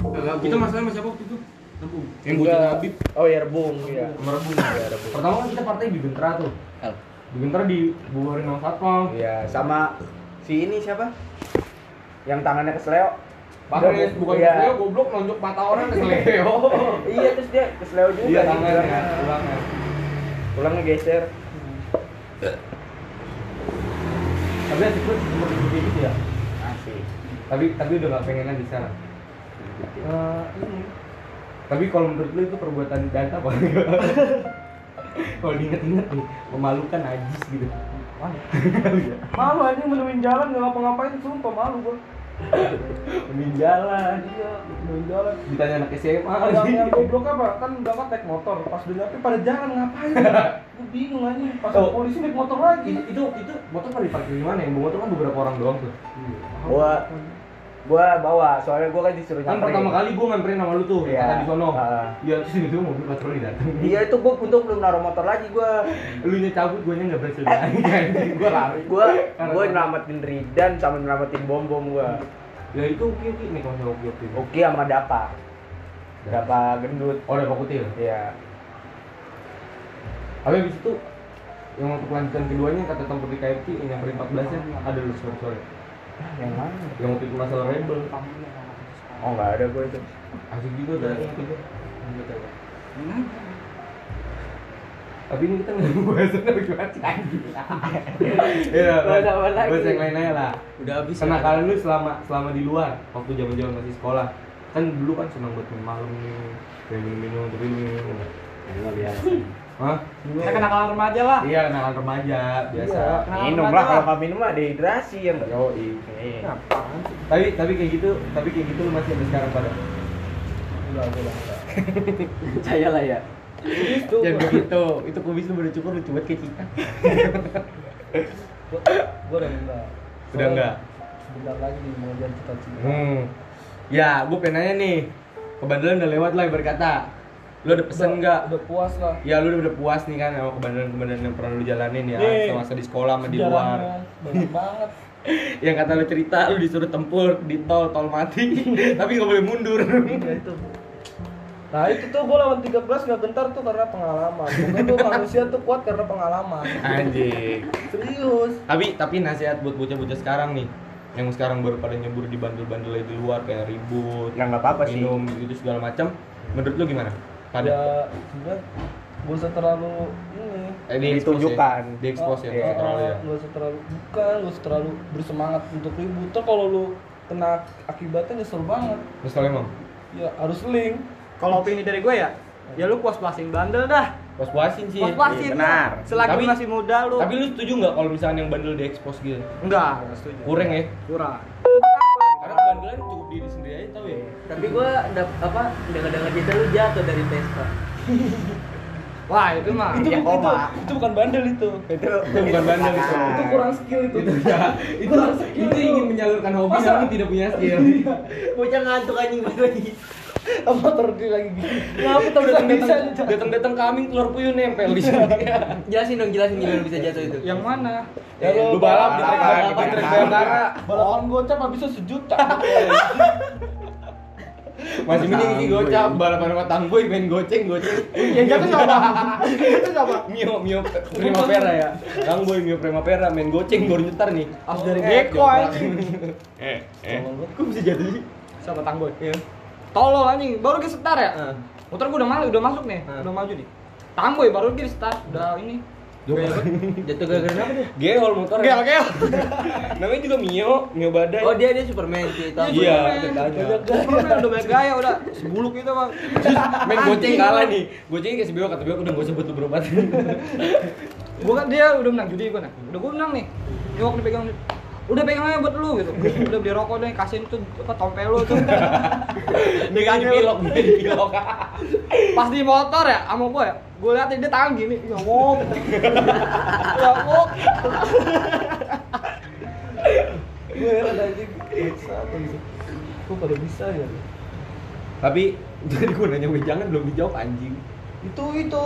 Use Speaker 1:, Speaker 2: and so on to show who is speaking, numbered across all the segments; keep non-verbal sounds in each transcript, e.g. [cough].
Speaker 1: Gabung.
Speaker 2: Kita masalah sama siapa waktu itu? Rebung. Yang
Speaker 3: Enggak.
Speaker 2: bocil Habib
Speaker 3: Oh ya rebung ya.
Speaker 2: sama Rebung.
Speaker 3: Ya rebung.
Speaker 1: Pertama kan kita partai di Gentra tuh.
Speaker 4: Al.
Speaker 1: Di Gentra dibubarin sama Satpam.
Speaker 3: Iya, sama si ini siapa? Yang tangannya kesleo.
Speaker 1: Pakai bukan
Speaker 3: Iya.
Speaker 1: kesleo, goblok nonjok mata orang kesleo.
Speaker 3: [laughs] Iya, gitu. terus dia kesleo juga.
Speaker 1: Iya,
Speaker 3: nih,
Speaker 1: tangannya,
Speaker 3: tulangnya.
Speaker 1: tulangnya.
Speaker 3: Tulangnya geser.
Speaker 1: Tapi ya siput cuma sedikit ya.
Speaker 3: Asik.
Speaker 1: Tapi tapi udah gak pengen lagi sekarang. Eh, ini. Tapi kalau menurut lu itu perbuatan data apa enggak? [laughs] kalau diinget-inget nih, memalukan najis gitu. [laughs] Iya.
Speaker 4: Malu aja menemuin jalan nggak ngapa-ngapain sumpah malu gua.
Speaker 1: Mending jalan,
Speaker 4: Iya, menemuin jalan.
Speaker 1: ditanya anak SMA
Speaker 4: Yang
Speaker 1: lagi.
Speaker 4: yang goblok apa? Kan berangkat naik motor, pas udah nyampe pada jalan
Speaker 1: [laughs]
Speaker 4: ngapain? Gue bingung aja, pas
Speaker 1: Oh.
Speaker 4: polisi naik motor lagi.
Speaker 1: Itu itu itu motor pada diparkir di mana? Yang bawa motor kan beberapa orang doang tuh.
Speaker 3: Gua gua bawa, soalnya gua kan disuruh
Speaker 1: Kan
Speaker 3: nyamperin.
Speaker 1: pertama kali gue main sama lu tuh,
Speaker 3: Iya.
Speaker 1: kata di sono.
Speaker 3: Ah.
Speaker 1: Iya, terus itu mobil patroli datang.
Speaker 3: Iya itu gua untung belum naruh motor lagi gua.
Speaker 1: Lu nya cabut, gue nya nggak berhasil [laughs] naik. Gue lari.
Speaker 3: Gua gua nyelamatin Ridan sama nyelamatin bom bom gua.
Speaker 1: Ya itu oke oke nih kalau sama oke oke.
Speaker 3: Oke sama Dapa. Dapa gendut.
Speaker 1: Oh, udah pakutil.
Speaker 3: Iya.
Speaker 1: Tapi abis itu yang untuk lanjutan keduanya kata tempat di KFC yang nyamperin 14 nya ada lu sore sore.
Speaker 3: Ah, Yang mana?
Speaker 1: Yang waktu itu masalah rebel.
Speaker 3: Oh nggak ada gua itu.
Speaker 1: Asik juga udah yang ketiga. Tapi ini kita nggak bahas tentang cuaca lagi. [laughs] Iya,
Speaker 3: Bahas apa
Speaker 1: bahas-
Speaker 3: lagi?
Speaker 1: bahas yang lain aja lah.
Speaker 4: Udah habis.
Speaker 1: Kenakalan lu selama selama di luar waktu zaman-zaman masih sekolah. Kan dulu kan senang buat main malam nih, kayak minum-minum, tapi minum.
Speaker 3: Enggak biasa.
Speaker 1: Hah?
Speaker 4: Kita kenakalan remaja lah.
Speaker 1: Iya, kenakalan remaja biasa.
Speaker 4: Iya.
Speaker 3: Minum lah kalau nggak minum mah dehidrasi ya enggak.
Speaker 1: Yo, Tapi tapi kayak gitu, tapi kayak gitu lu masih ada sekarang pada.
Speaker 3: [laughs] Percaya lah ya. Itu
Speaker 1: begitu. gitu. Itu kubis lu baru cukur lucu banget kayak cita.
Speaker 4: Gue udah enggak.
Speaker 1: Udah enggak.
Speaker 4: Sebentar lagi nih mau jadi cita-cita.
Speaker 1: Hmm. Ya, gue pengen nanya nih. Kebandelan udah lewat lah berkata. Lu ada pesan nggak?
Speaker 4: Udah puas lah.
Speaker 1: Ya lu udah puas nih kan sama kebandelan-kebandelan yang pernah lu jalanin ya
Speaker 4: Nih.
Speaker 1: semasa di sekolah sama di
Speaker 4: Sejarahnya
Speaker 1: luar.
Speaker 4: Banyak banget.
Speaker 1: Yang kata lu cerita lu disuruh tempur di tol tol [laughs] mati tapi nggak boleh mundur.
Speaker 4: Ya, itu. Nah itu tuh gue lawan 13 gak gentar tuh karena pengalaman Mungkin tuh manusia tuh kuat karena pengalaman
Speaker 1: Anjing.
Speaker 4: Serius
Speaker 1: Tapi tapi nasihat buat bocah-bocah sekarang nih yang sekarang baru pada nyebur di bandel-bandel di luar kayak ribut,
Speaker 3: Ya nggak apa-apa sih.
Speaker 1: minum gitu segala macam. Menurut lu gimana? Pada
Speaker 4: Ya sebenernya gue usah terlalu ini
Speaker 1: eh, diekspos ya.
Speaker 3: Ditunjukkan.
Speaker 1: diekspos
Speaker 4: Oh,
Speaker 1: ya,
Speaker 3: Iya.
Speaker 1: nggak terlalu ya.
Speaker 4: Gak usah terlalu Bukan, gak usah terlalu bersemangat untuk ribut Tuh kalau lu kena akibatnya nyesel banget
Speaker 1: Terus kalau emang
Speaker 4: Ya harus link
Speaker 5: Kalau opini dari gue ya, ya lu puas-puasin bandel dah.
Speaker 1: was-wasin sih.
Speaker 3: Iya,
Speaker 5: Puas-puasin.
Speaker 3: benar.
Speaker 5: Selagi
Speaker 1: Tapi-
Speaker 5: masih muda lu.
Speaker 1: Tapi lu setuju nggak kalau misalnya yang bandel diekspos gitu?
Speaker 5: enggak, enggak setuju.
Speaker 1: Kurang ya.
Speaker 5: Kurang.
Speaker 1: Karena kebandelan cukup diri sendiri aja tau ya.
Speaker 5: Iya.
Speaker 6: Tapi gua dap, apa dengar-dengar cerita lu jatuh dari Vespa.
Speaker 5: Wah, itu mah. Ya,
Speaker 4: itu,
Speaker 3: yang Ah,
Speaker 4: bu- itu,
Speaker 3: ya koma.
Speaker 4: itu bukan bandel itu
Speaker 3: Itu
Speaker 1: Itu bukan bandel itu.
Speaker 4: Itu kurang skill
Speaker 1: [laughs]
Speaker 4: itu
Speaker 1: Itu ya, itu, itu ingin menyalurkan hobi
Speaker 4: Iya. Masa?
Speaker 1: tapi tidak punya skill.
Speaker 6: Bocah ngantuk anjing banget lagi.
Speaker 4: Motor dia lagi gini
Speaker 1: Ngapa tau
Speaker 4: Bisa,
Speaker 1: datang-datang
Speaker 4: bisa.
Speaker 1: datang-datang kambing telur puyuh nempel di sini.
Speaker 6: Jelasin dong, jelasin gimana bisa jatuh itu.
Speaker 5: Yang mana?
Speaker 4: Ya
Speaker 1: Iya, Lu
Speaker 4: lu
Speaker 1: balap gitu. di trek
Speaker 4: balap,
Speaker 1: di trek Bayangkara.
Speaker 4: Balapan gocap habisnya
Speaker 1: [laughs]
Speaker 4: sejuta
Speaker 1: Masih mending ini gocap balapan sama tangboy main goceng goceng.
Speaker 5: Yang
Speaker 4: Ya,
Speaker 5: jatuh siapa? Itu siapa?
Speaker 1: Mio Mio Primavera ya. Tangboy Mio Primavera main goceng baru nyetar nih.
Speaker 5: Abis dari
Speaker 1: Eh,
Speaker 5: Beko
Speaker 1: jauh
Speaker 5: anjing.
Speaker 1: banget. Eh, eh.
Speaker 4: Tolong gua.
Speaker 1: Kok bisa jatuh sih?
Speaker 5: Siapa tangboy?
Speaker 1: Iya.
Speaker 5: Tolol anjing, baru ke setar ya?
Speaker 1: Heeh.
Speaker 5: Motor gua udah malu, udah masuk nih,
Speaker 1: Heeh.
Speaker 5: udah maju nih. Tangboy baru ke start, udah ini.
Speaker 6: Jatuh gara-gara apa dia?
Speaker 1: Geol motor. ya?
Speaker 5: Gel, gel.
Speaker 1: [laughs] Namanya juga Mio, Mio badai.
Speaker 6: Oh, dia dia Superman sih, tahu.
Speaker 1: Iya,
Speaker 5: Superman.
Speaker 1: tetangga.
Speaker 5: Superman udah banyak gaya udah sebuluk itu bang.
Speaker 1: Main goceng kalah nih. Gocengnya kayak si Beo kata Beo udah gak usah butuh berobat.
Speaker 5: Gua kan dia udah menang judi gua nah. Udah gua menang nih. Nyok dipegang udah pegang aja buat lu gitu udah beli rokok deh kasihin tuh apa tompel lu tuh
Speaker 1: Dia kan dipilok, dia dipilok.
Speaker 5: pas di motor ya sama gua ya gua liatin dia tangan gini ya wok ya wok
Speaker 4: Gue heran aja Satu gitu Kok pada bisa ya
Speaker 1: Tapi [laughs] jadi gue nanya wejangan belum dijawab anjing.
Speaker 4: Itu itu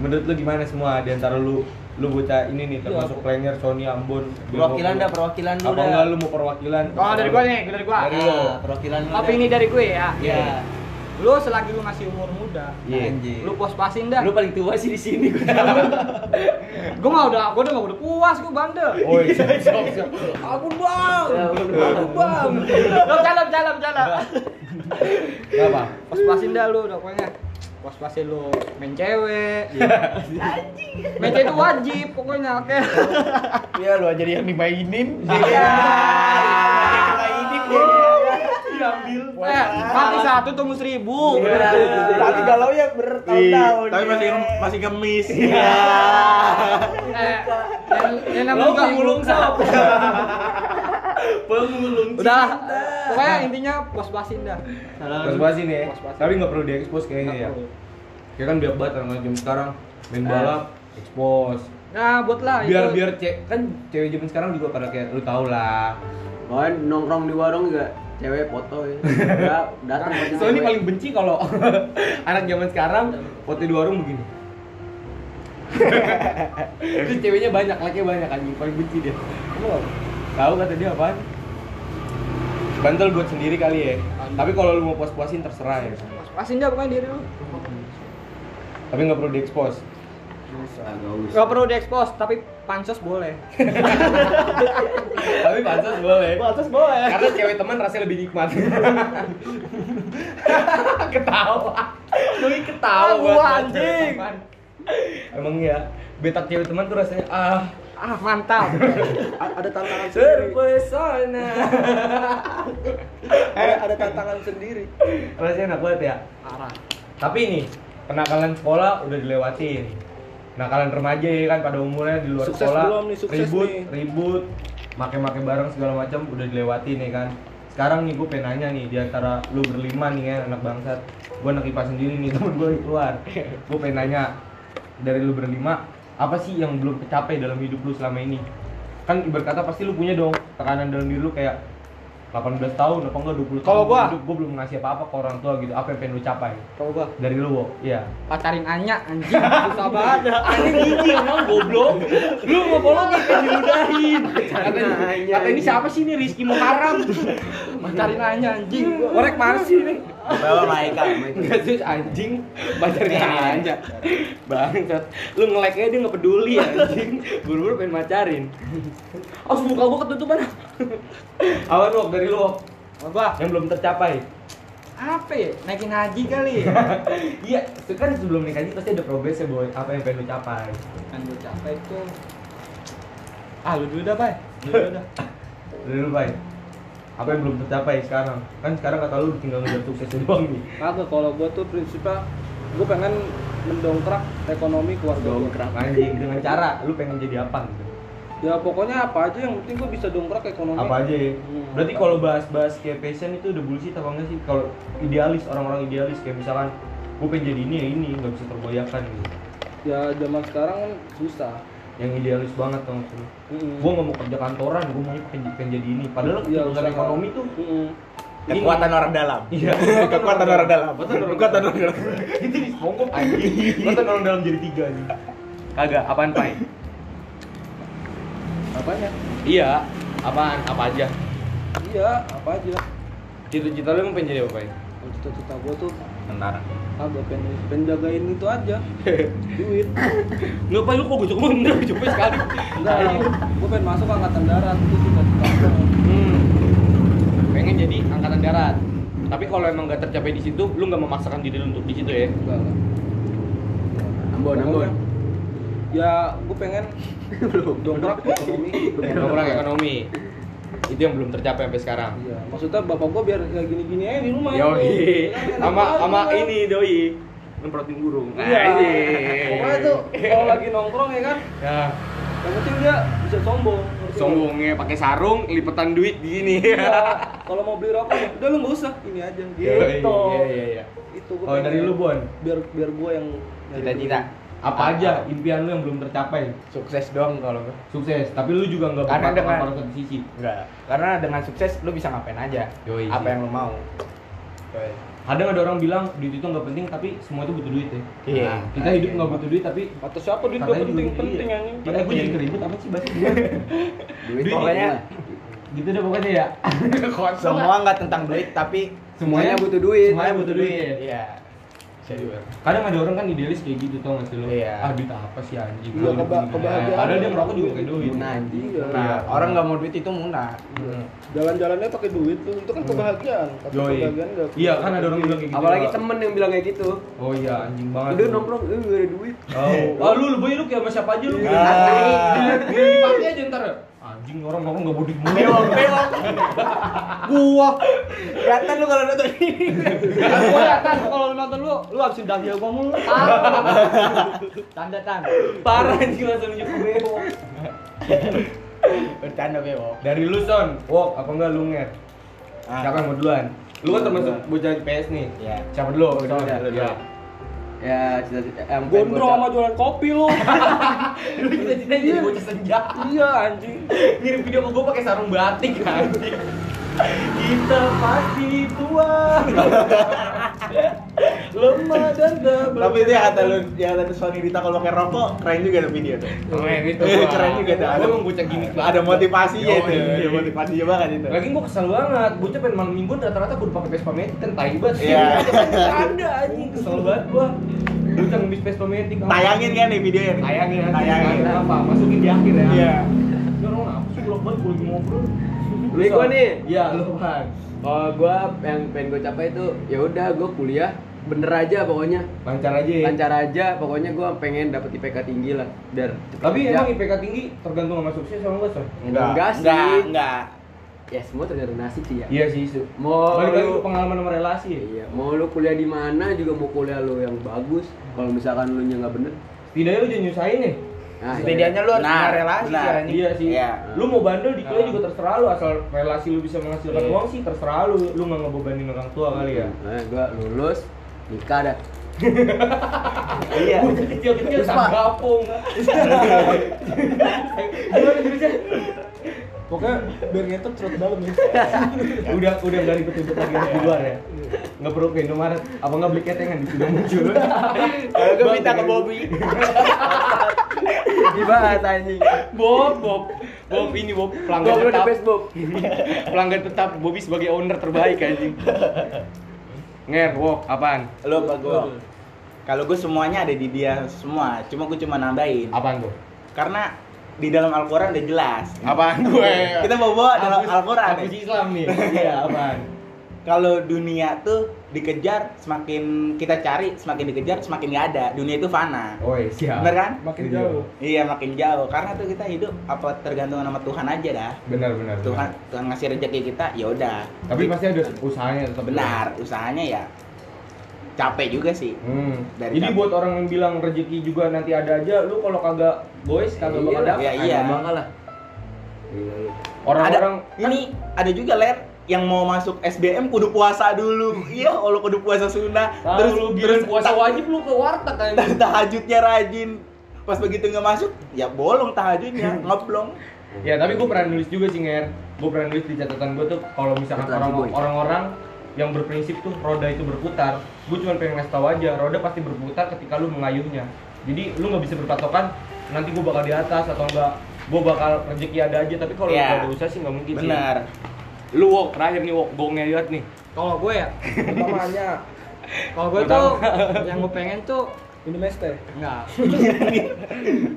Speaker 1: Menurut lu gimana semua di antara lu lu bocah ini nih termasuk
Speaker 5: Iya, aku-
Speaker 1: Klenger, Sony, Ambon
Speaker 6: Perwakilan
Speaker 1: Biomo.
Speaker 6: dah, perwakilan lu
Speaker 1: apa
Speaker 6: dah.
Speaker 1: enggak lu mau perwakilan
Speaker 5: Oh dari
Speaker 1: [laughs]
Speaker 5: gua nih, dari gua.
Speaker 1: Dari-
Speaker 6: Ah, perwakilan lu.
Speaker 5: Opini
Speaker 6: dah.
Speaker 5: dari gue ya.
Speaker 6: Iya.
Speaker 5: Lu selagi lu masih umur muda,
Speaker 1: Iya.
Speaker 6: Anjir.
Speaker 5: lu pos-pasin dah.
Speaker 6: Lu paling tua sih di sini gua.
Speaker 5: Gua mah udah, gua udah gak udah puas, gua bandel.
Speaker 1: oh iya siap, siap,
Speaker 5: [laughs]
Speaker 1: siap.
Speaker 5: Ampun bang,
Speaker 6: Ya, ampun, Bang.
Speaker 5: ampun bang. Lo jalan, jalan, jalan.
Speaker 1: Nggak apa
Speaker 5: Pos-pasin dah lu, udah pokoknya. Pos-pasin lu main cewek.
Speaker 6: Iya.
Speaker 5: Main cewek itu wajib, pokoknya oke.
Speaker 3: Iya lu aja yang dimainin.
Speaker 5: Eh, mati satu tunggu seribu.
Speaker 1: Iya,
Speaker 3: Tapi galau ya bertahun-tahun.
Speaker 2: Tapi masih masih gemis.
Speaker 5: Eh, yang- yang namanya juga- [laughs] Udah, pokoknya intinya pos-pasin dah.
Speaker 1: terus bahas ini ya
Speaker 5: Puas-puasin.
Speaker 1: tapi nggak perlu diekspos kayaknya ya ya kan biar banget orang zaman sekarang main balap ekspos
Speaker 5: Nah, buatlah
Speaker 1: biar
Speaker 5: Eh. itu.
Speaker 1: biar cek kan cewek zaman sekarang juga pada kayak lu tau lah
Speaker 6: Pokoknya nongkrong di warung juga cewek foto ya. Ya, datang
Speaker 3: Kan
Speaker 6: banyak
Speaker 1: soalnya
Speaker 6: cewek.
Speaker 1: paling benci kalau [laughs] anak zaman sekarang foto di warung begini Terus ceweknya banyak, laki banyak anjing, paling benci dia Tahu kata dia apaan? Bantal buat sendiri kali ya Tapi kalau lu mau puas-puasin terserah ya
Speaker 5: Pos-pasin dah pokoknya diri lu.
Speaker 1: Tapi nggak perlu diekspos
Speaker 6: Agak us.
Speaker 5: Gak perlu diekspos, tapi pansos boleh.
Speaker 1: Tapi pansos boleh
Speaker 4: Batas boleh.
Speaker 1: Karena cewek teman rasanya lebih nikmat. ketawa. Lu ketawa.
Speaker 5: Ah, gua
Speaker 1: buat- buat
Speaker 5: anjing.
Speaker 1: cewek teman. Emang ya, betak cewek teman tuh rasanya ah
Speaker 5: Ah, mantap.
Speaker 4: Ada tantangan sendiri.
Speaker 1: terpesona.
Speaker 4: Ada- Ada tantangan sendiri.
Speaker 1: rasanya enak banget ya.
Speaker 5: Parah.
Speaker 1: Tapi ini kenakalan sekolah udah dilewatin. Kenakalan remaja ya kan pada umurnya di luar
Speaker 4: Sukses
Speaker 1: sekolah
Speaker 4: belum nih, sukses
Speaker 1: ribut,
Speaker 4: nih.
Speaker 1: ribut, make-make barang segala macam udah dilewatin ya kan. Sekarang nih gue pengen nanya nih di antara lu berlima nih ya anak bangsat. Gue anak IPA sendiri nih [laughs] temen gue keluar. Gue pengen nanya dari lu berlima apa sih yang belum tercapai dalam hidup lu selama ini? Kan ibarat kata pasti lu punya dong tekanan dalam diri lu kayak 18 tahun apa enggak 20 tahun
Speaker 5: Kalau gua-
Speaker 1: hidup gue belum ngasih apa-apa ke orang tua gitu apa yang pengen lu capai
Speaker 5: Kalau gua
Speaker 1: dari lu, Wo? Iya.
Speaker 5: pacarin Anya anjing, susah banget. ya.
Speaker 1: Anjing jijik emang goblok. Lu mau follow kan diludahin. Katanya, kata ini siapa sih ini Rizky Muharram?
Speaker 5: Pacarin Anya anjing. Orek mana sih ini?
Speaker 6: Bawa Maika. Maika.
Speaker 1: Enggak sih anjing, pacarnya aja. Bangsat. Lu nge-like-nya dia enggak peduli anjing. Buru-buru pengen pacarin. Oh, muka gua ketutupan. Awan Wok dari lu, Wok.
Speaker 5: Kalau gua
Speaker 1: yang belum tercapai.
Speaker 5: apa ya? Naikin haji kali.
Speaker 1: Iya, itu kan sebelum nikah ini pasti ada progresnya, Boy. Apa yang pengen lu capai?
Speaker 5: Kan gua capek itu. Ah, lu dulu dah, Bay. Lu dulu dah.
Speaker 1: Dari lu, Bay. ya? Apa yang belum tercapai sekarang? Kan sekarang kata lu tinggal ngejar sukses [laughs] doang nih.
Speaker 4: Kagak kalau gua tuh prinsipnya gua pengen mendongkrak ekonomi keluarga gua.
Speaker 1: anjing dengan cara lu pengen jadi apa gitu
Speaker 4: Ya pokoknya apa aja yang penting gua bisa dongkrak ekonomi.
Speaker 1: apa aja ya berarti kalau bahas-bahas kayak passion itu udah bullshit apa enggak sih kalau idealis orang-orang idealis kayak misalkan gue pengen jadi ini ya ini nggak bisa tergoyahkan gitu
Speaker 4: Ya zaman sekarang kan susah.
Speaker 1: yang idealis banget dong maksudnya
Speaker 4: Mm-mm.
Speaker 1: gue nggak mau kerja kantoran gue mau pengen, pengen jadi ini padahal
Speaker 4: Hmm. Iya,
Speaker 1: kebutuhan
Speaker 4: usaha.
Speaker 1: ekonomi tuh
Speaker 4: Mm-mm.
Speaker 1: ini-
Speaker 3: Kekuatan orang dalam.
Speaker 1: iya
Speaker 3: [laughs] Kekuatan orang dalam. Kekuatan orang dalam.
Speaker 1: itu di songkok anjing kekuatan orang dalam jadi tiga anjing kagak apaan pai
Speaker 4: Apanya?
Speaker 1: iya apaan apa aja
Speaker 4: Iya, apa aja.
Speaker 1: cita-cita lu emang pengen jadi apa pai
Speaker 4: Kalau Cita-cita gua tuh
Speaker 3: Tentara.
Speaker 4: kagak pengen, pengen jagain itu
Speaker 6: [laughs]
Speaker 4: aja. Duit.
Speaker 1: nggak pai lu kok gue cuma nggak coba sekali
Speaker 4: Enggak, gua pengen masuk angkatan darat itu cita-cita gua.
Speaker 1: Hmm. Pengen jadi angkatan darat. Tapi kalau emang gak tercapai di situ, lu nggak memaksakan diri lu untuk di situ ya.
Speaker 4: Enggak lah.
Speaker 6: Ambon,
Speaker 4: Pokoknya,
Speaker 6: Ambon.
Speaker 4: Ya, gua
Speaker 6: [laughs]
Speaker 4: pengen dongkrak ekonomi.
Speaker 1: Orang ekonomi. Itu yang belum tercapai sampai sekarang.
Speaker 4: Iya, maksudnya bapak gua biar ya gini-gini aja di rumah. Iya,
Speaker 1: Yoi.
Speaker 4: Enak, enak
Speaker 1: Sama
Speaker 4: aja.
Speaker 1: sama ini Nah, doi. Nemprotin burung.
Speaker 4: Iya.
Speaker 1: Anjing.
Speaker 4: Pokoknya tuh kalau lagi nongkrong ya kan,
Speaker 1: Ya,
Speaker 4: yang penting dia bisa sombong. ngerti nggak?
Speaker 1: sombongnya pakai sarung, lipetan duit gini.
Speaker 4: Iya. Kalau mau beli rokok, ya udah lu nggak usah, ini aja gitu.
Speaker 1: Yoi, Iya, iya, iya.
Speaker 4: Itu gua
Speaker 1: [laughs] Kalau
Speaker 4: pengen.
Speaker 1: dari lu, Bon,
Speaker 4: biar biar gua yang nyari
Speaker 3: Cita-cita.
Speaker 1: apa aja impian lu yang belum tercapai?
Speaker 3: Sukses doang kalau gue.
Speaker 1: Sukses, tapi lu juga nggak
Speaker 3: Karena
Speaker 1: berpatokan
Speaker 3: dengan-
Speaker 1: pada satu sisi.
Speaker 3: Enggak. Karena dengan sukses lu bisa ngapain aja.
Speaker 1: Yoi,
Speaker 3: Apa
Speaker 1: sih.
Speaker 3: yang lu mau. coy.
Speaker 1: Ada nggak ada orang bilang duit itu nggak penting tapi semua itu butuh duit ya.
Speaker 3: Iya.
Speaker 1: Kita hidup nggak butuh duit tapi
Speaker 4: Atau siapa duit gua
Speaker 1: katanya juga
Speaker 4: penting
Speaker 1: iya.
Speaker 4: penting anjing.
Speaker 1: Padahal gue jadi keribut apa sih bahasa gua?
Speaker 6: duit
Speaker 1: Duit
Speaker 3: pokoknya.
Speaker 1: Gitu deh pokoknya ya.
Speaker 3: Semua nggak tentang duit tapi
Speaker 6: semuanya butuh duit
Speaker 1: Semuanya butuh duit.
Speaker 3: iya. Bisa juga.
Speaker 1: Kadang ada orang kan idealis kayak gitu tau nggak sih lo?
Speaker 3: Iya.
Speaker 1: Ah duit apa sih anjing?
Speaker 4: Iya,
Speaker 1: Gua
Speaker 4: keba-
Speaker 1: hidup
Speaker 4: kebahagiaan.
Speaker 1: gimana? Padahal dia merokok juga pakai duit.
Speaker 6: Guna anjing
Speaker 3: Nah, orang nggak mau duit itu munah.
Speaker 4: Jalan-jalannya pakai duit tuh. Itu kan kebahagiaan.
Speaker 1: Iya.
Speaker 4: Kata
Speaker 1: Hmm. Yoi.
Speaker 4: kebahagiaan nggak-
Speaker 1: Iya kan ada orang bilang kayak gitu.
Speaker 6: apalagi
Speaker 1: Wak.
Speaker 6: temen yang bilang kayak gitu
Speaker 1: Oh iya anjing banget.
Speaker 6: udah nongkrong eh gak ada duit [laughs]
Speaker 1: Oh, ah, lu lebih lu kayak sama siapa aja lu.
Speaker 6: Iya.
Speaker 1: Dilihat- Dipakai aja ntar. Anjing orang nongkrong enggak bodit mulu.
Speaker 3: Bewok, bewok. Gua. Kelihatan lu kalau nonton ini.
Speaker 5: Kan gua ya, Tan, kalau lu nonton lu, lu habisin daging gua mulu. Tan. Tanda tan.
Speaker 6: parah anjing langsung nunjuk ke beo
Speaker 3: Bercanda bewok.
Speaker 1: Dari lu Son, walk apa enggak lu nget? Siapa yang mau duluan? Lu kan termasuk bocah IPS nih.
Speaker 3: Iya.
Speaker 1: Siapa dulu?
Speaker 6: Oh,
Speaker 1: Son?
Speaker 6: iya, iya. ya cita-cita eh, bukan
Speaker 4: Gondrong
Speaker 6: bocah.
Speaker 4: sama jualan kopi
Speaker 1: [laughs]
Speaker 4: lu.
Speaker 1: Lu cita-cita jadi bocah senja.
Speaker 4: Iya anjing.
Speaker 1: Ngirim video ke gua pakai sarung batik anjing. Kita pasti tua.
Speaker 4: Lemah dan lemah.
Speaker 3: Tapi itu yang kata lu, yang kata Sony Rita kalau pakai rokok, keren juga tuh video tuh.
Speaker 1: Keren itu.
Speaker 3: Eh,
Speaker 1: Iya,
Speaker 3: Keren juga tuh.
Speaker 1: Gua emang bocah gimmick banget.
Speaker 3: Ada motivasinya
Speaker 1: Yoi.
Speaker 3: itu, Iya, ada motivasinya banget itu.
Speaker 1: iya. Lagi gua kesel banget, bocah pengen malam mingguan rata-rata gua udah pakai Vespa Matic kan tai banget sih.
Speaker 3: Iya.
Speaker 1: Ada
Speaker 3: [laughs]
Speaker 1: anjing, kesel banget gua. Bocah ngemis Vespa Matic. apa?
Speaker 3: Tayangin kan nih videonya? nih?
Speaker 1: Tayangin anjing.
Speaker 3: Tayangin.
Speaker 1: Apa? Masukin di akhir ya.
Speaker 3: Iya.
Speaker 1: Ini orang apa sih bolak balik gua lagi ngobrol.
Speaker 6: Lu gua nih.
Speaker 1: Iya, lu kan.
Speaker 6: kalau Oh, gua yang pengen gue capai itu ya udah gua kuliah bener aja pokoknya
Speaker 1: Lancar aja
Speaker 3: Iya.
Speaker 1: ya.
Speaker 6: lancar aja pokoknya gua pengen dapet IPK tinggi lah biar cepet
Speaker 1: Tapi
Speaker 3: Ya.
Speaker 6: kerja.
Speaker 1: emang IPK tinggi tergantung sama sukses sama enggak, Son?
Speaker 6: enggak, sih
Speaker 3: Enggak, enggak.
Speaker 6: ya semua tergantung nasib sih ya
Speaker 1: Iya sih, itu.
Speaker 6: mau
Speaker 1: Balik lagi
Speaker 6: lu-
Speaker 1: ke pengalaman sama relasi ya.
Speaker 6: Iya, mau lu kuliah di mana juga mau kuliah lu yang bagus. Kalau misalkan lu nya nggak bener,
Speaker 1: Setidaknya lu jangan nyusahin nih.
Speaker 6: nah,
Speaker 3: Setidaknya lu harus
Speaker 6: Nah,
Speaker 3: punya relasi
Speaker 6: benar.
Speaker 3: sih anjing.
Speaker 1: Iya sih.
Speaker 3: Iya.
Speaker 1: Lu mau bandel di kuliah
Speaker 5: Nah.
Speaker 1: juga terserah lu asal relasi lu bisa menghasilkan
Speaker 3: Iya.
Speaker 1: uang sih terserah lu. Lu nggak ngebebanin orang tua kali ya.
Speaker 6: Nah, gua lulus nikah dah.
Speaker 3: Iya.
Speaker 1: Bocah kecil-kecil sama gapung. Gimana jurusnya?
Speaker 4: Pokoknya biar ngetep cerut dalam ya.
Speaker 1: [laughs] Udah udah dari petunjuk lagi yang di luar ya. Nggak perlu ke Indomaret. Apa nggak beli ketengan di sudah [laughs] muncul?
Speaker 3: Kalau gue minta ke
Speaker 1: [laughs]
Speaker 3: Bobby.
Speaker 6: Dibahas anjing.
Speaker 1: Bob, Bob, Bob ini Bob
Speaker 6: Gua
Speaker 1: pelanggan
Speaker 6: belum di
Speaker 1: tetap,
Speaker 6: Facebook.
Speaker 1: pelanggan tetap Bobby sebagai owner terbaik anjing. Nger, wok, apaan?
Speaker 3: Lu apa gue? Kalau gue semuanya ada di dia semua, cuma gue cuma nambahin.
Speaker 1: Apaan tuh?
Speaker 3: Karena di dalam Al-Quran udah jelas.
Speaker 1: Apaan gue?
Speaker 3: Kita bawa dalam
Speaker 1: Agus-
Speaker 3: Al-Quran.
Speaker 1: Agus
Speaker 3: nih.
Speaker 1: Islam nih. [laughs] Iya, apaan?
Speaker 3: Kalau dunia tuh dikejar, semakin kita cari, semakin dikejar, semakin nggak ada. Dunia itu fana.
Speaker 1: Oi, siap.
Speaker 3: Bener kan?
Speaker 4: Makin jauh.
Speaker 3: Iya, makin jauh. Karena tuh kita hidup apa tergantung sama Tuhan aja dah.
Speaker 1: Benar, benar.
Speaker 3: Tuhan,
Speaker 1: benar.
Speaker 3: Tuhan ngasih rezeki kita, ya udah.
Speaker 1: Tapi pasti ada usahanya tetap.
Speaker 3: Benar, usahanya ya capek juga sih.
Speaker 1: Hmm.
Speaker 3: Dari
Speaker 1: Jadi
Speaker 3: kamu.
Speaker 1: buat orang yang bilang rezeki juga nanti ada aja, lu kalau kagak boys kagak bakal
Speaker 6: Iya,
Speaker 1: dapet.
Speaker 3: Iya, iya.
Speaker 6: Kagak bakal lah.
Speaker 1: Orang-orang
Speaker 3: ada, ini ada juga ler yang mau masuk SBM kudu puasa dulu. iya, kalau kudu puasa sunnah,
Speaker 1: Tahu
Speaker 3: terus
Speaker 1: "Ah, lu
Speaker 3: terus
Speaker 1: bilang puasa
Speaker 3: ta-
Speaker 1: wajib lu ke warteg kan.
Speaker 3: ta- [laughs] tahajudnya rajin. Pas begitu nggak masuk, ya bolong [laughs] tahajudnya, ngeblong.
Speaker 1: Ya tapi gue pernah nulis juga sih Nger Gue pernah nulis di catatan gue tuh kalau misalkan
Speaker 6: Catatan si
Speaker 1: orang-
Speaker 6: Boy.
Speaker 1: orang-orang yang berprinsip tuh roda itu berputar Gue cuma pengen ngasih tau aja, roda pasti berputar ketika lu mengayuhnya Jadi lu nggak bisa berpatokan nanti gue bakal di atas atau enggak Gue bakal rezeki ada aja, tapi kalau lu
Speaker 3: Iya.
Speaker 1: nggak ada usaha sih nggak mungkin sih.
Speaker 3: Benar.
Speaker 1: Lu walk, terakhir nih walk, gongnya liat nih
Speaker 5: Kalau gue ya,
Speaker 4: Utamanya
Speaker 5: kalau gue tuh yang gue pengen tuh
Speaker 4: minum es teh.
Speaker 5: enggak.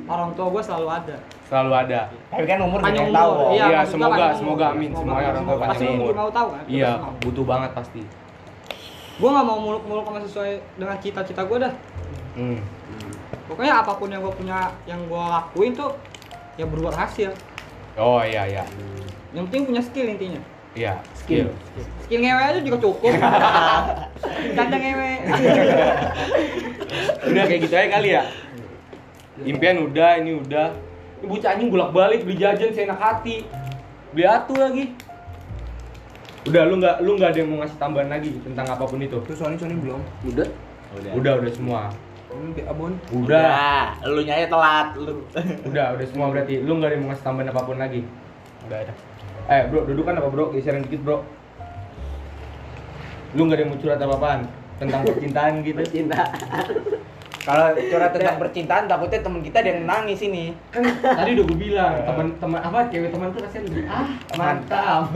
Speaker 5: Orang tua gue selalu ada.
Speaker 1: Selalu ada
Speaker 3: Tapi kan umur
Speaker 5: Panjang
Speaker 3: banyak tahu.
Speaker 5: umur.
Speaker 3: Iya.
Speaker 1: Iya,
Speaker 5: maksud gua
Speaker 1: semoga,
Speaker 5: panjang
Speaker 1: semoga,
Speaker 5: umur.
Speaker 1: amin. Semuanya orang tua
Speaker 5: kan Pasti
Speaker 1: panjang
Speaker 5: lu
Speaker 1: umur.
Speaker 5: mau tahu kan?
Speaker 1: Iya, butuh banget pasti
Speaker 5: Gue gak mau muluk-muluk sama sesuai dengan cita-cita gue dah.
Speaker 1: hmm.
Speaker 5: Pokoknya apapun yang gue punya, yang gue lakuin tuh ya berbuat hasil.
Speaker 1: Oh iya, iya
Speaker 5: Yang penting punya skill intinya.
Speaker 1: Iya, skill
Speaker 5: Skill ngewe aja juga [laughs] cukup. Canda ngewe.
Speaker 1: udah kayak gitu aja kali ya impian udah ini udah ini bocah anjing bolak balik beli jajan seenak hati beli atu lagi udah lu nggak lu nggak ada yang mau ngasih tambahan lagi tentang apapun itu
Speaker 2: Terus Sony Sony belum.
Speaker 6: Udah.
Speaker 1: udah udah semua
Speaker 2: Belum di abon.
Speaker 1: udah
Speaker 3: lu nyaya telat lu.
Speaker 1: udah udah semua berarti lu nggak ada yang mau ngasih tambahan apapun lagi
Speaker 2: Udah ada.
Speaker 1: eh bro dudukan apa bro geseran dikit bro Lu nggak ada yang mau curhat apa-apaan tentang percintaan gitu.
Speaker 6: Cinta.
Speaker 3: Kalau curhat [laughs] tentang percintaan takutnya temen kita ada yang nangis ini.
Speaker 1: Kan tadi udah gue bilang, teman-teman apa cewek teman tuh kasihan lebih ah mantap.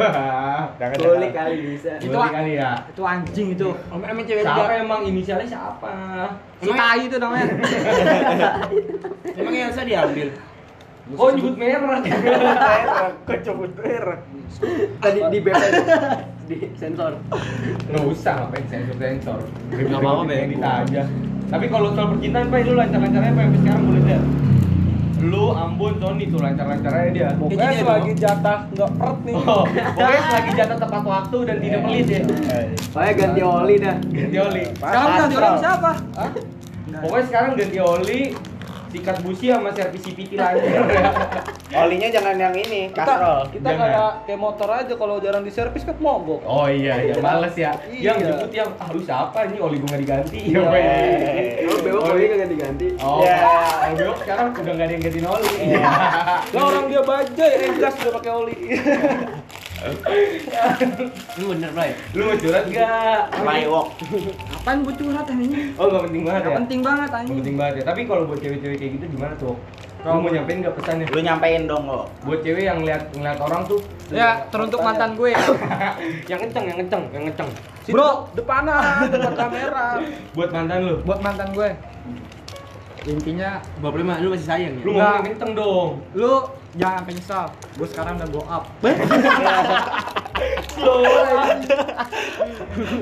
Speaker 1: Jangan
Speaker 6: Kulik kali bisa.
Speaker 1: Itu kali ya.
Speaker 5: Itu anjing itu.
Speaker 3: Om emang cewek
Speaker 1: Siapa emang inisialnya siapa?
Speaker 5: Si tai itu namanya.
Speaker 3: Emang Elsa diambil.
Speaker 1: Oh nyebut merah. [laughs]
Speaker 3: Kecobot merah.
Speaker 6: Tadi di BP di sensor.
Speaker 1: Nggak usah ngapain sensor-sensor.
Speaker 2: Nggak apa-apa, Bang.
Speaker 1: Kita aja. Tapi kalau soal percintaan, Pak, lu lancar-lancarnya apa sampai sekarang boleh lihat? Lu Ambon Tony tuh lancar-lancarnya dia.
Speaker 4: Pokoknya
Speaker 3: Kayak gini,
Speaker 4: selagi jatah nggak peret nih.
Speaker 1: Oh, pokoknya selagi jatah tepat waktu dan tidak pelit ya.
Speaker 6: Pokoknya ganti oli dah.
Speaker 1: Ganti oli.
Speaker 4: Kan
Speaker 5: Sekarang udah orang siapa?
Speaker 1: Pokoknya sekarang ganti oli, sikat busi sama servis CPT lancar ya.
Speaker 3: Olinya jangan yang ini,
Speaker 4: Kita,
Speaker 3: kastrol.
Speaker 4: kita
Speaker 1: Jangan.
Speaker 4: kayak kayak motor aja kalau jarang diservis kan mogok.
Speaker 1: Oh iya, iya males ya.
Speaker 4: Iya.
Speaker 1: Yang jemput yang ah lu siapa ini oli gua nggak diganti.
Speaker 4: Iya.
Speaker 1: Apa ya?
Speaker 6: Lu bewok oli kagak ganti-ganti.
Speaker 1: Oh,
Speaker 3: Iya.
Speaker 1: yeah. sekarang udah nggak ada yang gantiin oli.
Speaker 4: Lah orang dia baja ya gas udah pakai oli.
Speaker 2: Ini bener, Bray.
Speaker 1: Lu mau curhat nggak?
Speaker 3: My walk.
Speaker 5: Apaan gua curhat anjing?
Speaker 1: Oh nggak penting banget
Speaker 5: Gak
Speaker 1: ya.
Speaker 5: penting banget
Speaker 1: Nggak
Speaker 5: anjing.
Speaker 1: penting banget ya. Tapi kalau buat cewek-cewek kayak gitu gimana tuh? Kamu mau nyampein nggak pesannya?
Speaker 3: Lu nyampein dong lo.
Speaker 1: Buat cewek yang lihat ngeliat orang tuh
Speaker 5: Ya, teruntuk mantan gue.
Speaker 1: yang kenceng, yang kenceng, yang kenceng.
Speaker 5: Bro,
Speaker 3: Ah,
Speaker 4: depanan depan kamera.
Speaker 1: Buat mantan lu.
Speaker 5: buat mantan gue. Intinya
Speaker 2: Bapak lima, lu masih sayang ya?
Speaker 1: Lu
Speaker 5: Nggak.
Speaker 1: ngomong kenceng dong.
Speaker 5: lu jangan sampai nyesal. Gue sekarang udah blow up.
Speaker 3: [laughs]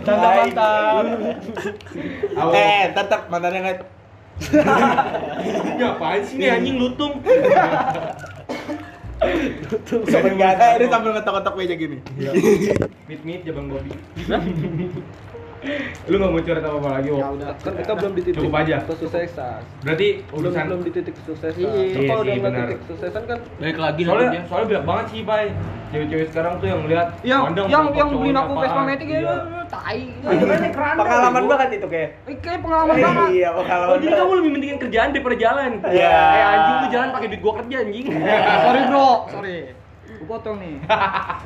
Speaker 1: Tanda mantan. Awal.
Speaker 3: Eh, tetap mantannya
Speaker 1: [laughs]
Speaker 3: nggak.
Speaker 1: Ini apaan sih nih anjing lutung?
Speaker 3: Sampai nggak
Speaker 4: eh,
Speaker 3: ada, ini sambil ngetok-ngetok meja gini.
Speaker 1: Meet meet jabang Bobby. [laughs] Lu nggak mau curhat apa apa lagi, Wok?
Speaker 4: Kan kita belum di titik
Speaker 1: Cukup aja.
Speaker 4: kesuksesan.
Speaker 1: Berarti
Speaker 4: Belum
Speaker 1: urusan
Speaker 4: belum di titik kesuksesan.
Speaker 5: Iya.
Speaker 4: Itu
Speaker 1: Iya
Speaker 4: Kalau udah
Speaker 1: sih,
Speaker 4: nggak
Speaker 1: benar.
Speaker 4: titik kesuksesan kan
Speaker 2: Balik lagi nanti
Speaker 1: soalnya
Speaker 2: dia.
Speaker 1: soalnya banyak banget sih, Bay. Cewek-cewek sekarang tuh yang lihat
Speaker 5: [laughs] Yang
Speaker 1: mandang
Speaker 5: yang
Speaker 1: pokok
Speaker 5: yang beliin
Speaker 1: cowoknya
Speaker 5: aku
Speaker 1: apaan.
Speaker 5: Vespa Matic
Speaker 1: Iya.
Speaker 5: ya, tai.
Speaker 3: Pengalaman banget itu kayak.
Speaker 5: Eh, Kayak pengalaman banget.
Speaker 3: Iya,
Speaker 1: Oh,
Speaker 3: pengalaman.
Speaker 1: jadi kamu lebih pentingin kerjaan daripada jalan.
Speaker 3: Iya.
Speaker 1: Eh, anjing lu jalan pakai duit gua kerja anjing.
Speaker 5: sorry bro, sorry. Gue potong nih.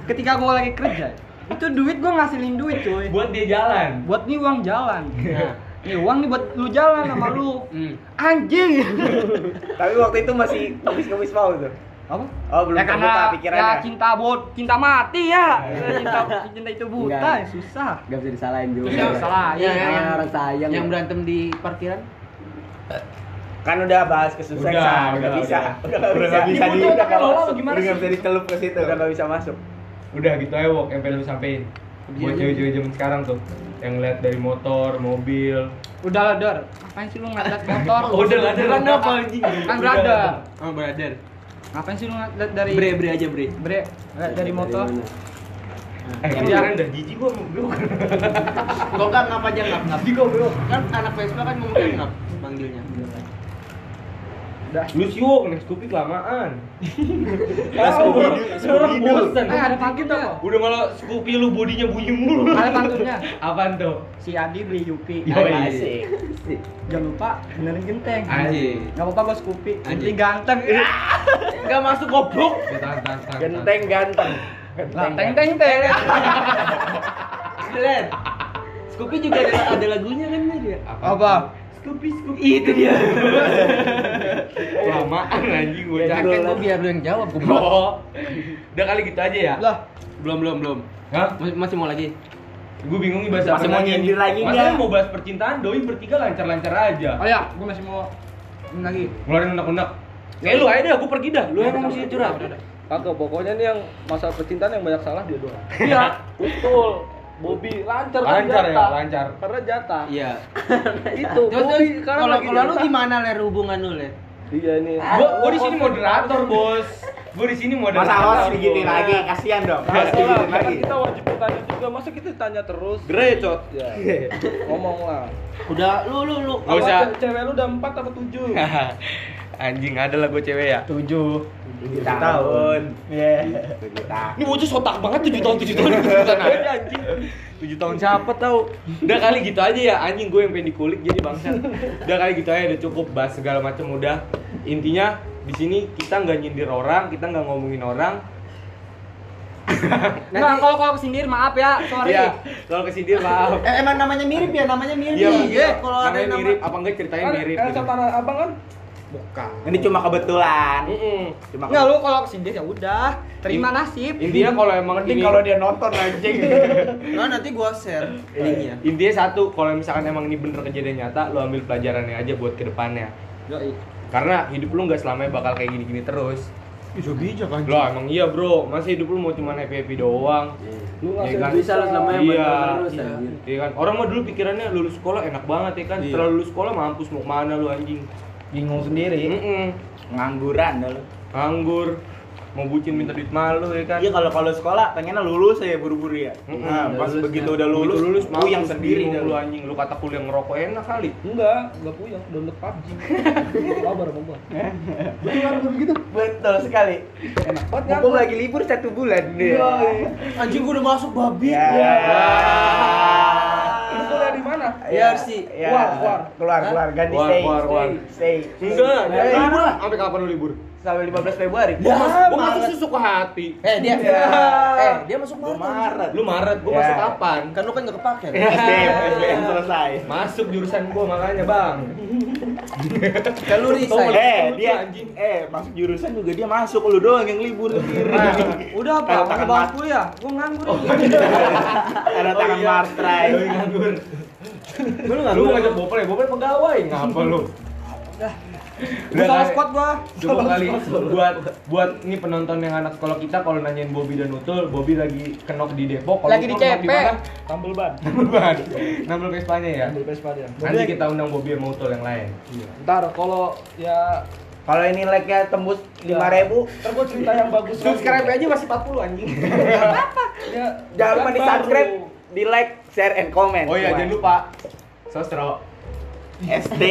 Speaker 5: Ketika gue lagi kerja, itu duit gue ngasilin duit cuy.
Speaker 1: [laughs] Buat dia jalan.
Speaker 5: Buat nih uang jalan.
Speaker 1: [laughs]
Speaker 5: Nah, nih uang nih buat lu jalan sama lu. Anjing.
Speaker 3: Tapi waktu itu masih kumis-kumis mau tuh.
Speaker 5: Apa?
Speaker 3: Oh, belum
Speaker 5: ya karena
Speaker 3: terbuka
Speaker 5: ya
Speaker 3: pikirannya.
Speaker 5: cinta bot, cinta mati ya. cinta cinta itu buta,
Speaker 6: Enggak.
Speaker 5: ya, susah.
Speaker 6: Gak bisa disalahin juga.
Speaker 5: Iya, salah.
Speaker 2: Iya, iya,
Speaker 6: Ah,
Speaker 2: yang-
Speaker 6: orang sayang.
Speaker 2: Yang
Speaker 6: ya.
Speaker 2: berantem di parkiran?
Speaker 3: Kan udah bahas
Speaker 1: Udah,
Speaker 3: kesusahan, udah,
Speaker 1: udah,
Speaker 3: bisa.
Speaker 1: udah.
Speaker 3: nggak
Speaker 1: Udah nggak bisa
Speaker 3: Udah
Speaker 1: di-
Speaker 3: nggak
Speaker 1: Kalau
Speaker 3: masuk.
Speaker 1: lo gimana
Speaker 3: Udah
Speaker 1: sih?
Speaker 3: nggak bisa dikelup ke situ, kan nggak bisa masuk.
Speaker 1: Udah gitu aja, Wok, yang pengen lu sampein. Buat cewek-cewek zaman sekarang tuh yang lihat dari motor, mobil.
Speaker 5: Udah lah, Dar. Apaan sih lu ngeliat motor?
Speaker 1: [laughs] Oh, Udah lah, ada apa anjing?
Speaker 5: Kan berada.
Speaker 2: Sama brother.
Speaker 5: Ngapain sih lu ngeliat dari
Speaker 2: Bre, bre aja, bre.
Speaker 5: bre ngeliat dari motor?
Speaker 6: mana?
Speaker 1: Eh,
Speaker 5: Yang
Speaker 1: kemarin
Speaker 5: jalan.
Speaker 1: udah jijik gua sama bro.
Speaker 2: Kok kan ngap aja ngap ngap?
Speaker 1: Jijik gua, bro.
Speaker 2: Kan anak Vespa kan ngomongnya ngap panggilnya.
Speaker 1: Lu sih, Wok, next kupik [laughs] lamaan.
Speaker 3: Nah, Scooby-Doo,
Speaker 1: Sekarang
Speaker 3: Scooby-Doo.
Speaker 1: bosan.
Speaker 5: Eh, ada pantunnya.
Speaker 1: Udah malah Scoopy lu bodinya bunyi mulu.
Speaker 5: Ada pantunnya.
Speaker 1: Apaan tuh?
Speaker 5: Si Adi beli Yupi.
Speaker 1: Yoi.
Speaker 3: Asik.
Speaker 5: Jangan lupa benerin genteng.
Speaker 2: Anjing.
Speaker 5: Gak apa-apa gue Scoopy.
Speaker 2: Anjing.
Speaker 5: Anjing ganteng.
Speaker 3: Nggak masuk goblok.
Speaker 1: Ya, Iya. tahan, tahan, tahan,
Speaker 3: Genteng ganteng.
Speaker 5: Lah, teng teng teng.
Speaker 2: Lihat. Scoopy juga ada, ada lagunya kan dia.
Speaker 1: tahan.
Speaker 5: Apa?
Speaker 1: Scoopy, Scoopy.
Speaker 2: Itu dia.
Speaker 1: Lamaan anjing gua
Speaker 2: Kan
Speaker 1: cakep.
Speaker 2: gua biar lu yang jawab, gua.
Speaker 1: Oh. Udah kali gitu aja ya?
Speaker 5: Lah,
Speaker 2: Belum, belum, belum.
Speaker 1: Hah?
Speaker 2: Mas- Masih mau lagi?
Speaker 1: Gue bingung nih bahas
Speaker 3: Masih
Speaker 1: apa
Speaker 3: mau
Speaker 1: lagi
Speaker 3: nyindir lagi
Speaker 1: Masanya
Speaker 3: nggak?
Speaker 1: mau bahas percintaan, doi bertiga lancar-lancar aja
Speaker 5: oh ya, gue masih mau ini lagi.
Speaker 1: Ngeluarin unek-unek
Speaker 3: Ya,
Speaker 1: Eh lu aja deh, gue pergi dah Lu yang mesti curhat
Speaker 4: Kagak, pokoknya nih yang masalah percintaan yang banyak salah dia doang.
Speaker 5: Iya.
Speaker 4: [laughs] Betul. Bobby lancar kan
Speaker 1: Lancar ya,
Speaker 4: jatah.
Speaker 1: lancar
Speaker 4: Karena jatah.
Speaker 2: Iya.
Speaker 4: [laughs] Itu
Speaker 2: Terus,
Speaker 4: Bobby
Speaker 2: terus,
Speaker 4: sekarang
Speaker 2: kalau
Speaker 4: lagi
Speaker 2: kalau lu
Speaker 4: jatah.
Speaker 2: gimana ler hubungan lu ler? Ah.
Speaker 4: Iya ini.
Speaker 1: Gue gua di sini moderator, Bos. Gue di sini moderator.
Speaker 3: Masa host begitu
Speaker 1: Bos.
Speaker 3: lagi, kasihan dong.
Speaker 1: Nah,
Speaker 3: Host
Speaker 4: Masa lah,
Speaker 3: begitu
Speaker 4: karena
Speaker 3: lagi.
Speaker 4: kita wajib bertanya juga. Masa kita tanya terus?
Speaker 3: Grecot.
Speaker 1: [laughs]
Speaker 4: Ya. Ngomong lah.
Speaker 2: Udah lu lu lu.
Speaker 1: Nggak
Speaker 4: Apa
Speaker 1: usah. Ya,
Speaker 4: ce- Cewek lu udah 4 apa
Speaker 1: [laughs]
Speaker 4: 7?
Speaker 1: Anjing, ada lah gue cewek ya. Tujuh.
Speaker 3: Tujuh tahun. Iya.
Speaker 1: Ini bocah sotak banget tujuh tahun [laughs] tujuh tahun tujuh tahun aja anjing. Tujuh tahun siapa tau? Udah kali gitu aja ya anjing gue yang pengen dikulik jadi bangsa. Udah kali gitu aja udah cukup bahas segala macam udah. Intinya di sini kita nggak nyindir orang, kita nggak ngomongin orang.
Speaker 5: Enggak, kalau Eh, kalau sendiri maaf ya, sorry.
Speaker 1: Iya, kalau kesindir maaf.
Speaker 3: Eh, emang namanya mirip ya, namanya mirip.
Speaker 1: Iya,
Speaker 3: Iya, kalau ada
Speaker 1: namanya
Speaker 3: nama.
Speaker 1: mirip apa enggak ceritanya
Speaker 4: Kan
Speaker 1: mirip
Speaker 4: Elsa
Speaker 1: gitu.
Speaker 4: Tanah Abang kan
Speaker 5: Bukan.
Speaker 3: Ini cuma kebetulan.
Speaker 1: Mm-mm.
Speaker 3: Cuma
Speaker 5: Enggak lu kalau kesindir ya udah, terima nasib.
Speaker 1: Intinya kalau emang
Speaker 4: penting
Speaker 1: ini-
Speaker 4: kalau dia nonton
Speaker 3: [laughs]
Speaker 4: anjing.
Speaker 3: Nah, nanti gua share
Speaker 1: Iya.
Speaker 3: linknya.
Speaker 1: Intinya satu, kalau misalkan emang ini bener kejadian nyata, lo ambil pelajarannya aja buat kedepannya.
Speaker 5: Yoi.
Speaker 1: Karena hidup lu nggak selamanya bakal kayak gini-gini terus.
Speaker 2: Bisa bijak kan?
Speaker 1: Lo emang iya bro, masa hidup lu mau cuman happy happy doang.
Speaker 4: Lu
Speaker 1: Iya
Speaker 4: ngasih
Speaker 1: kan?
Speaker 2: Bisa lu selamanya
Speaker 1: Iya.
Speaker 2: buat terus
Speaker 1: Iya.
Speaker 2: anjir.
Speaker 1: Iya kan, orang mah dulu pikirannya lulus sekolah enak banget ya kan.
Speaker 2: Iya.
Speaker 1: Setelah lulus sekolah mampus mau kemana lu anjing?
Speaker 7: bingung
Speaker 3: Iya.
Speaker 7: sendiri
Speaker 1: Mm-mm.
Speaker 3: Ngangguran dah lu.
Speaker 1: Nganggur, mau bucin minta duit malu ya kan.
Speaker 3: Iya kalau kalau sekolah pengennya lulus ya buru-buru ya.
Speaker 1: Mm-mm.
Speaker 3: Nah, pas
Speaker 2: Lulus,
Speaker 3: begitu
Speaker 2: ya.
Speaker 3: udah lulus,
Speaker 1: Begitu lulus
Speaker 3: lu yang
Speaker 1: mampus,
Speaker 3: sendiri
Speaker 1: bingung
Speaker 3: dah
Speaker 1: lu
Speaker 3: lu.
Speaker 1: anjing, lu kata kuliah ngerokok enak kali.
Speaker 4: Enggak, enggak punya. Download
Speaker 2: [laughs]
Speaker 4: PUBG. Kabar sama
Speaker 1: [laughs]
Speaker 4: gua. Betul kan gua begitu?
Speaker 3: Betul sekali.
Speaker 4: Enak banget kan?
Speaker 3: Mumpung lagi libur satu bulan deh.
Speaker 2: Anjing gua udah masuk babi.
Speaker 3: Ya.
Speaker 4: Lu kuliah di mana?
Speaker 3: Ya sih.
Speaker 4: Iya, Keluar, keluar.
Speaker 3: Keluar, keluar. Ganti
Speaker 1: Keluar,
Speaker 3: stay.
Speaker 1: keluar, keluar.
Speaker 3: Stay. stay.
Speaker 1: Enggak,
Speaker 3: Ya,
Speaker 1: jangan libur
Speaker 3: libur.
Speaker 1: lah. Sampai kapan lu libur?
Speaker 3: Sampai 15 Februari.
Speaker 1: Gua masuk, gua
Speaker 3: Maret.
Speaker 1: masuk susuk ke hati.
Speaker 2: Eh dia.
Speaker 3: Ya.
Speaker 2: Eh dia masuk
Speaker 3: Gua
Speaker 2: Maret.
Speaker 3: Maret.
Speaker 1: Lu Maret, gua
Speaker 3: Ya.
Speaker 1: masuk kapan?
Speaker 2: Kan lu kan gak kepake.
Speaker 1: [laughs]
Speaker 3: SBM, SBM selesai.
Speaker 1: Masuk jurusan gua makanya, Bang.
Speaker 2: Kan lu resign.
Speaker 3: Eh, dia
Speaker 1: anjing.
Speaker 3: eh masuk jurusan juga dia masuk lu doang yang libur sendiri.
Speaker 1: Ah.
Speaker 5: Udah
Speaker 3: Kalau
Speaker 5: apa? Mau
Speaker 3: tangan
Speaker 5: bahas
Speaker 3: mas-
Speaker 5: kuliah? Gua nganggur. ini.
Speaker 3: Ada
Speaker 1: Oh
Speaker 3: tangan
Speaker 1: iya.
Speaker 3: martrai.
Speaker 1: Lu nganggur. Lu nganggur. Lu ngajak Bopel ya, Bopel pegawai. Ngapa lu?
Speaker 5: Gua
Speaker 3: Iya,
Speaker 1: Udah,
Speaker 5: salah
Speaker 1: Nay.
Speaker 5: squad gua.
Speaker 1: Coba kali buat buat nih penonton yang anak sekolah kita kalau nanyain Bobby dan Utul, Bobby lagi kenok di Depok kalau
Speaker 5: Lagi di
Speaker 1: Utul kenok
Speaker 5: CP.
Speaker 1: mana?
Speaker 4: Tambel ban.
Speaker 1: Nambel banget. Nambel Vespanya ya.
Speaker 4: Ambil Vespa dia.
Speaker 1: Nanti kita undang Bobby sama Utul yang lain.
Speaker 4: Ntar kalau ya
Speaker 3: Kalau ini like-nya tembus 5000,
Speaker 4: ntar gua cerita yang bagus lagi.
Speaker 1: Subscribe aja masih 40 anjing.
Speaker 4: Ya,
Speaker 3: jangan lupa di
Speaker 4: baru.
Speaker 3: subscribe, di like, share and comment.
Speaker 1: Oh iya,
Speaker 3: Wah.
Speaker 1: jangan lupa. Sostro.
Speaker 3: SD.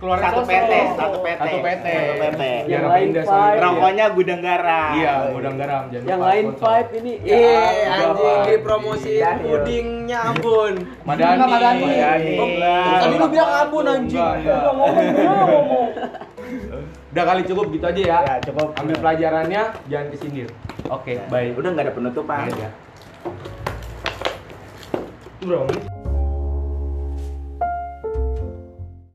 Speaker 1: Keluaran
Speaker 3: satu
Speaker 1: sosro.
Speaker 3: PT, satu PT.
Speaker 1: Satu PT.
Speaker 3: Satu PT.
Speaker 1: Biar
Speaker 2: Yang
Speaker 1: apa
Speaker 2: lain
Speaker 1: indah
Speaker 2: five.
Speaker 1: solidaritas.
Speaker 3: Rokoknya gudang garam.
Speaker 1: Iya, gudang garam. Jangan
Speaker 2: Yang
Speaker 1: lupa
Speaker 2: lain
Speaker 1: sponsor.
Speaker 2: vibe ini.
Speaker 3: Iya,
Speaker 1: Ya, anjing,
Speaker 3: dipromosiin
Speaker 2: pudingnya Ambon.
Speaker 1: Iya, Madani.
Speaker 5: Enggak, Madani.
Speaker 1: Madani.
Speaker 2: Oh, tadi lu bilang Ambon, anjing.
Speaker 1: Enggak, ya.
Speaker 4: Gua ngomong, gua ngomong.
Speaker 1: Udah kali cukup gitu aja ya.
Speaker 3: Ya, cukup.
Speaker 1: Ambil pelajarannya, jangan kesindir. Oke,
Speaker 3: Baik,
Speaker 1: baik. ya.
Speaker 3: udah nggak ada penutupan.
Speaker 1: Udah. Itu berapa menit?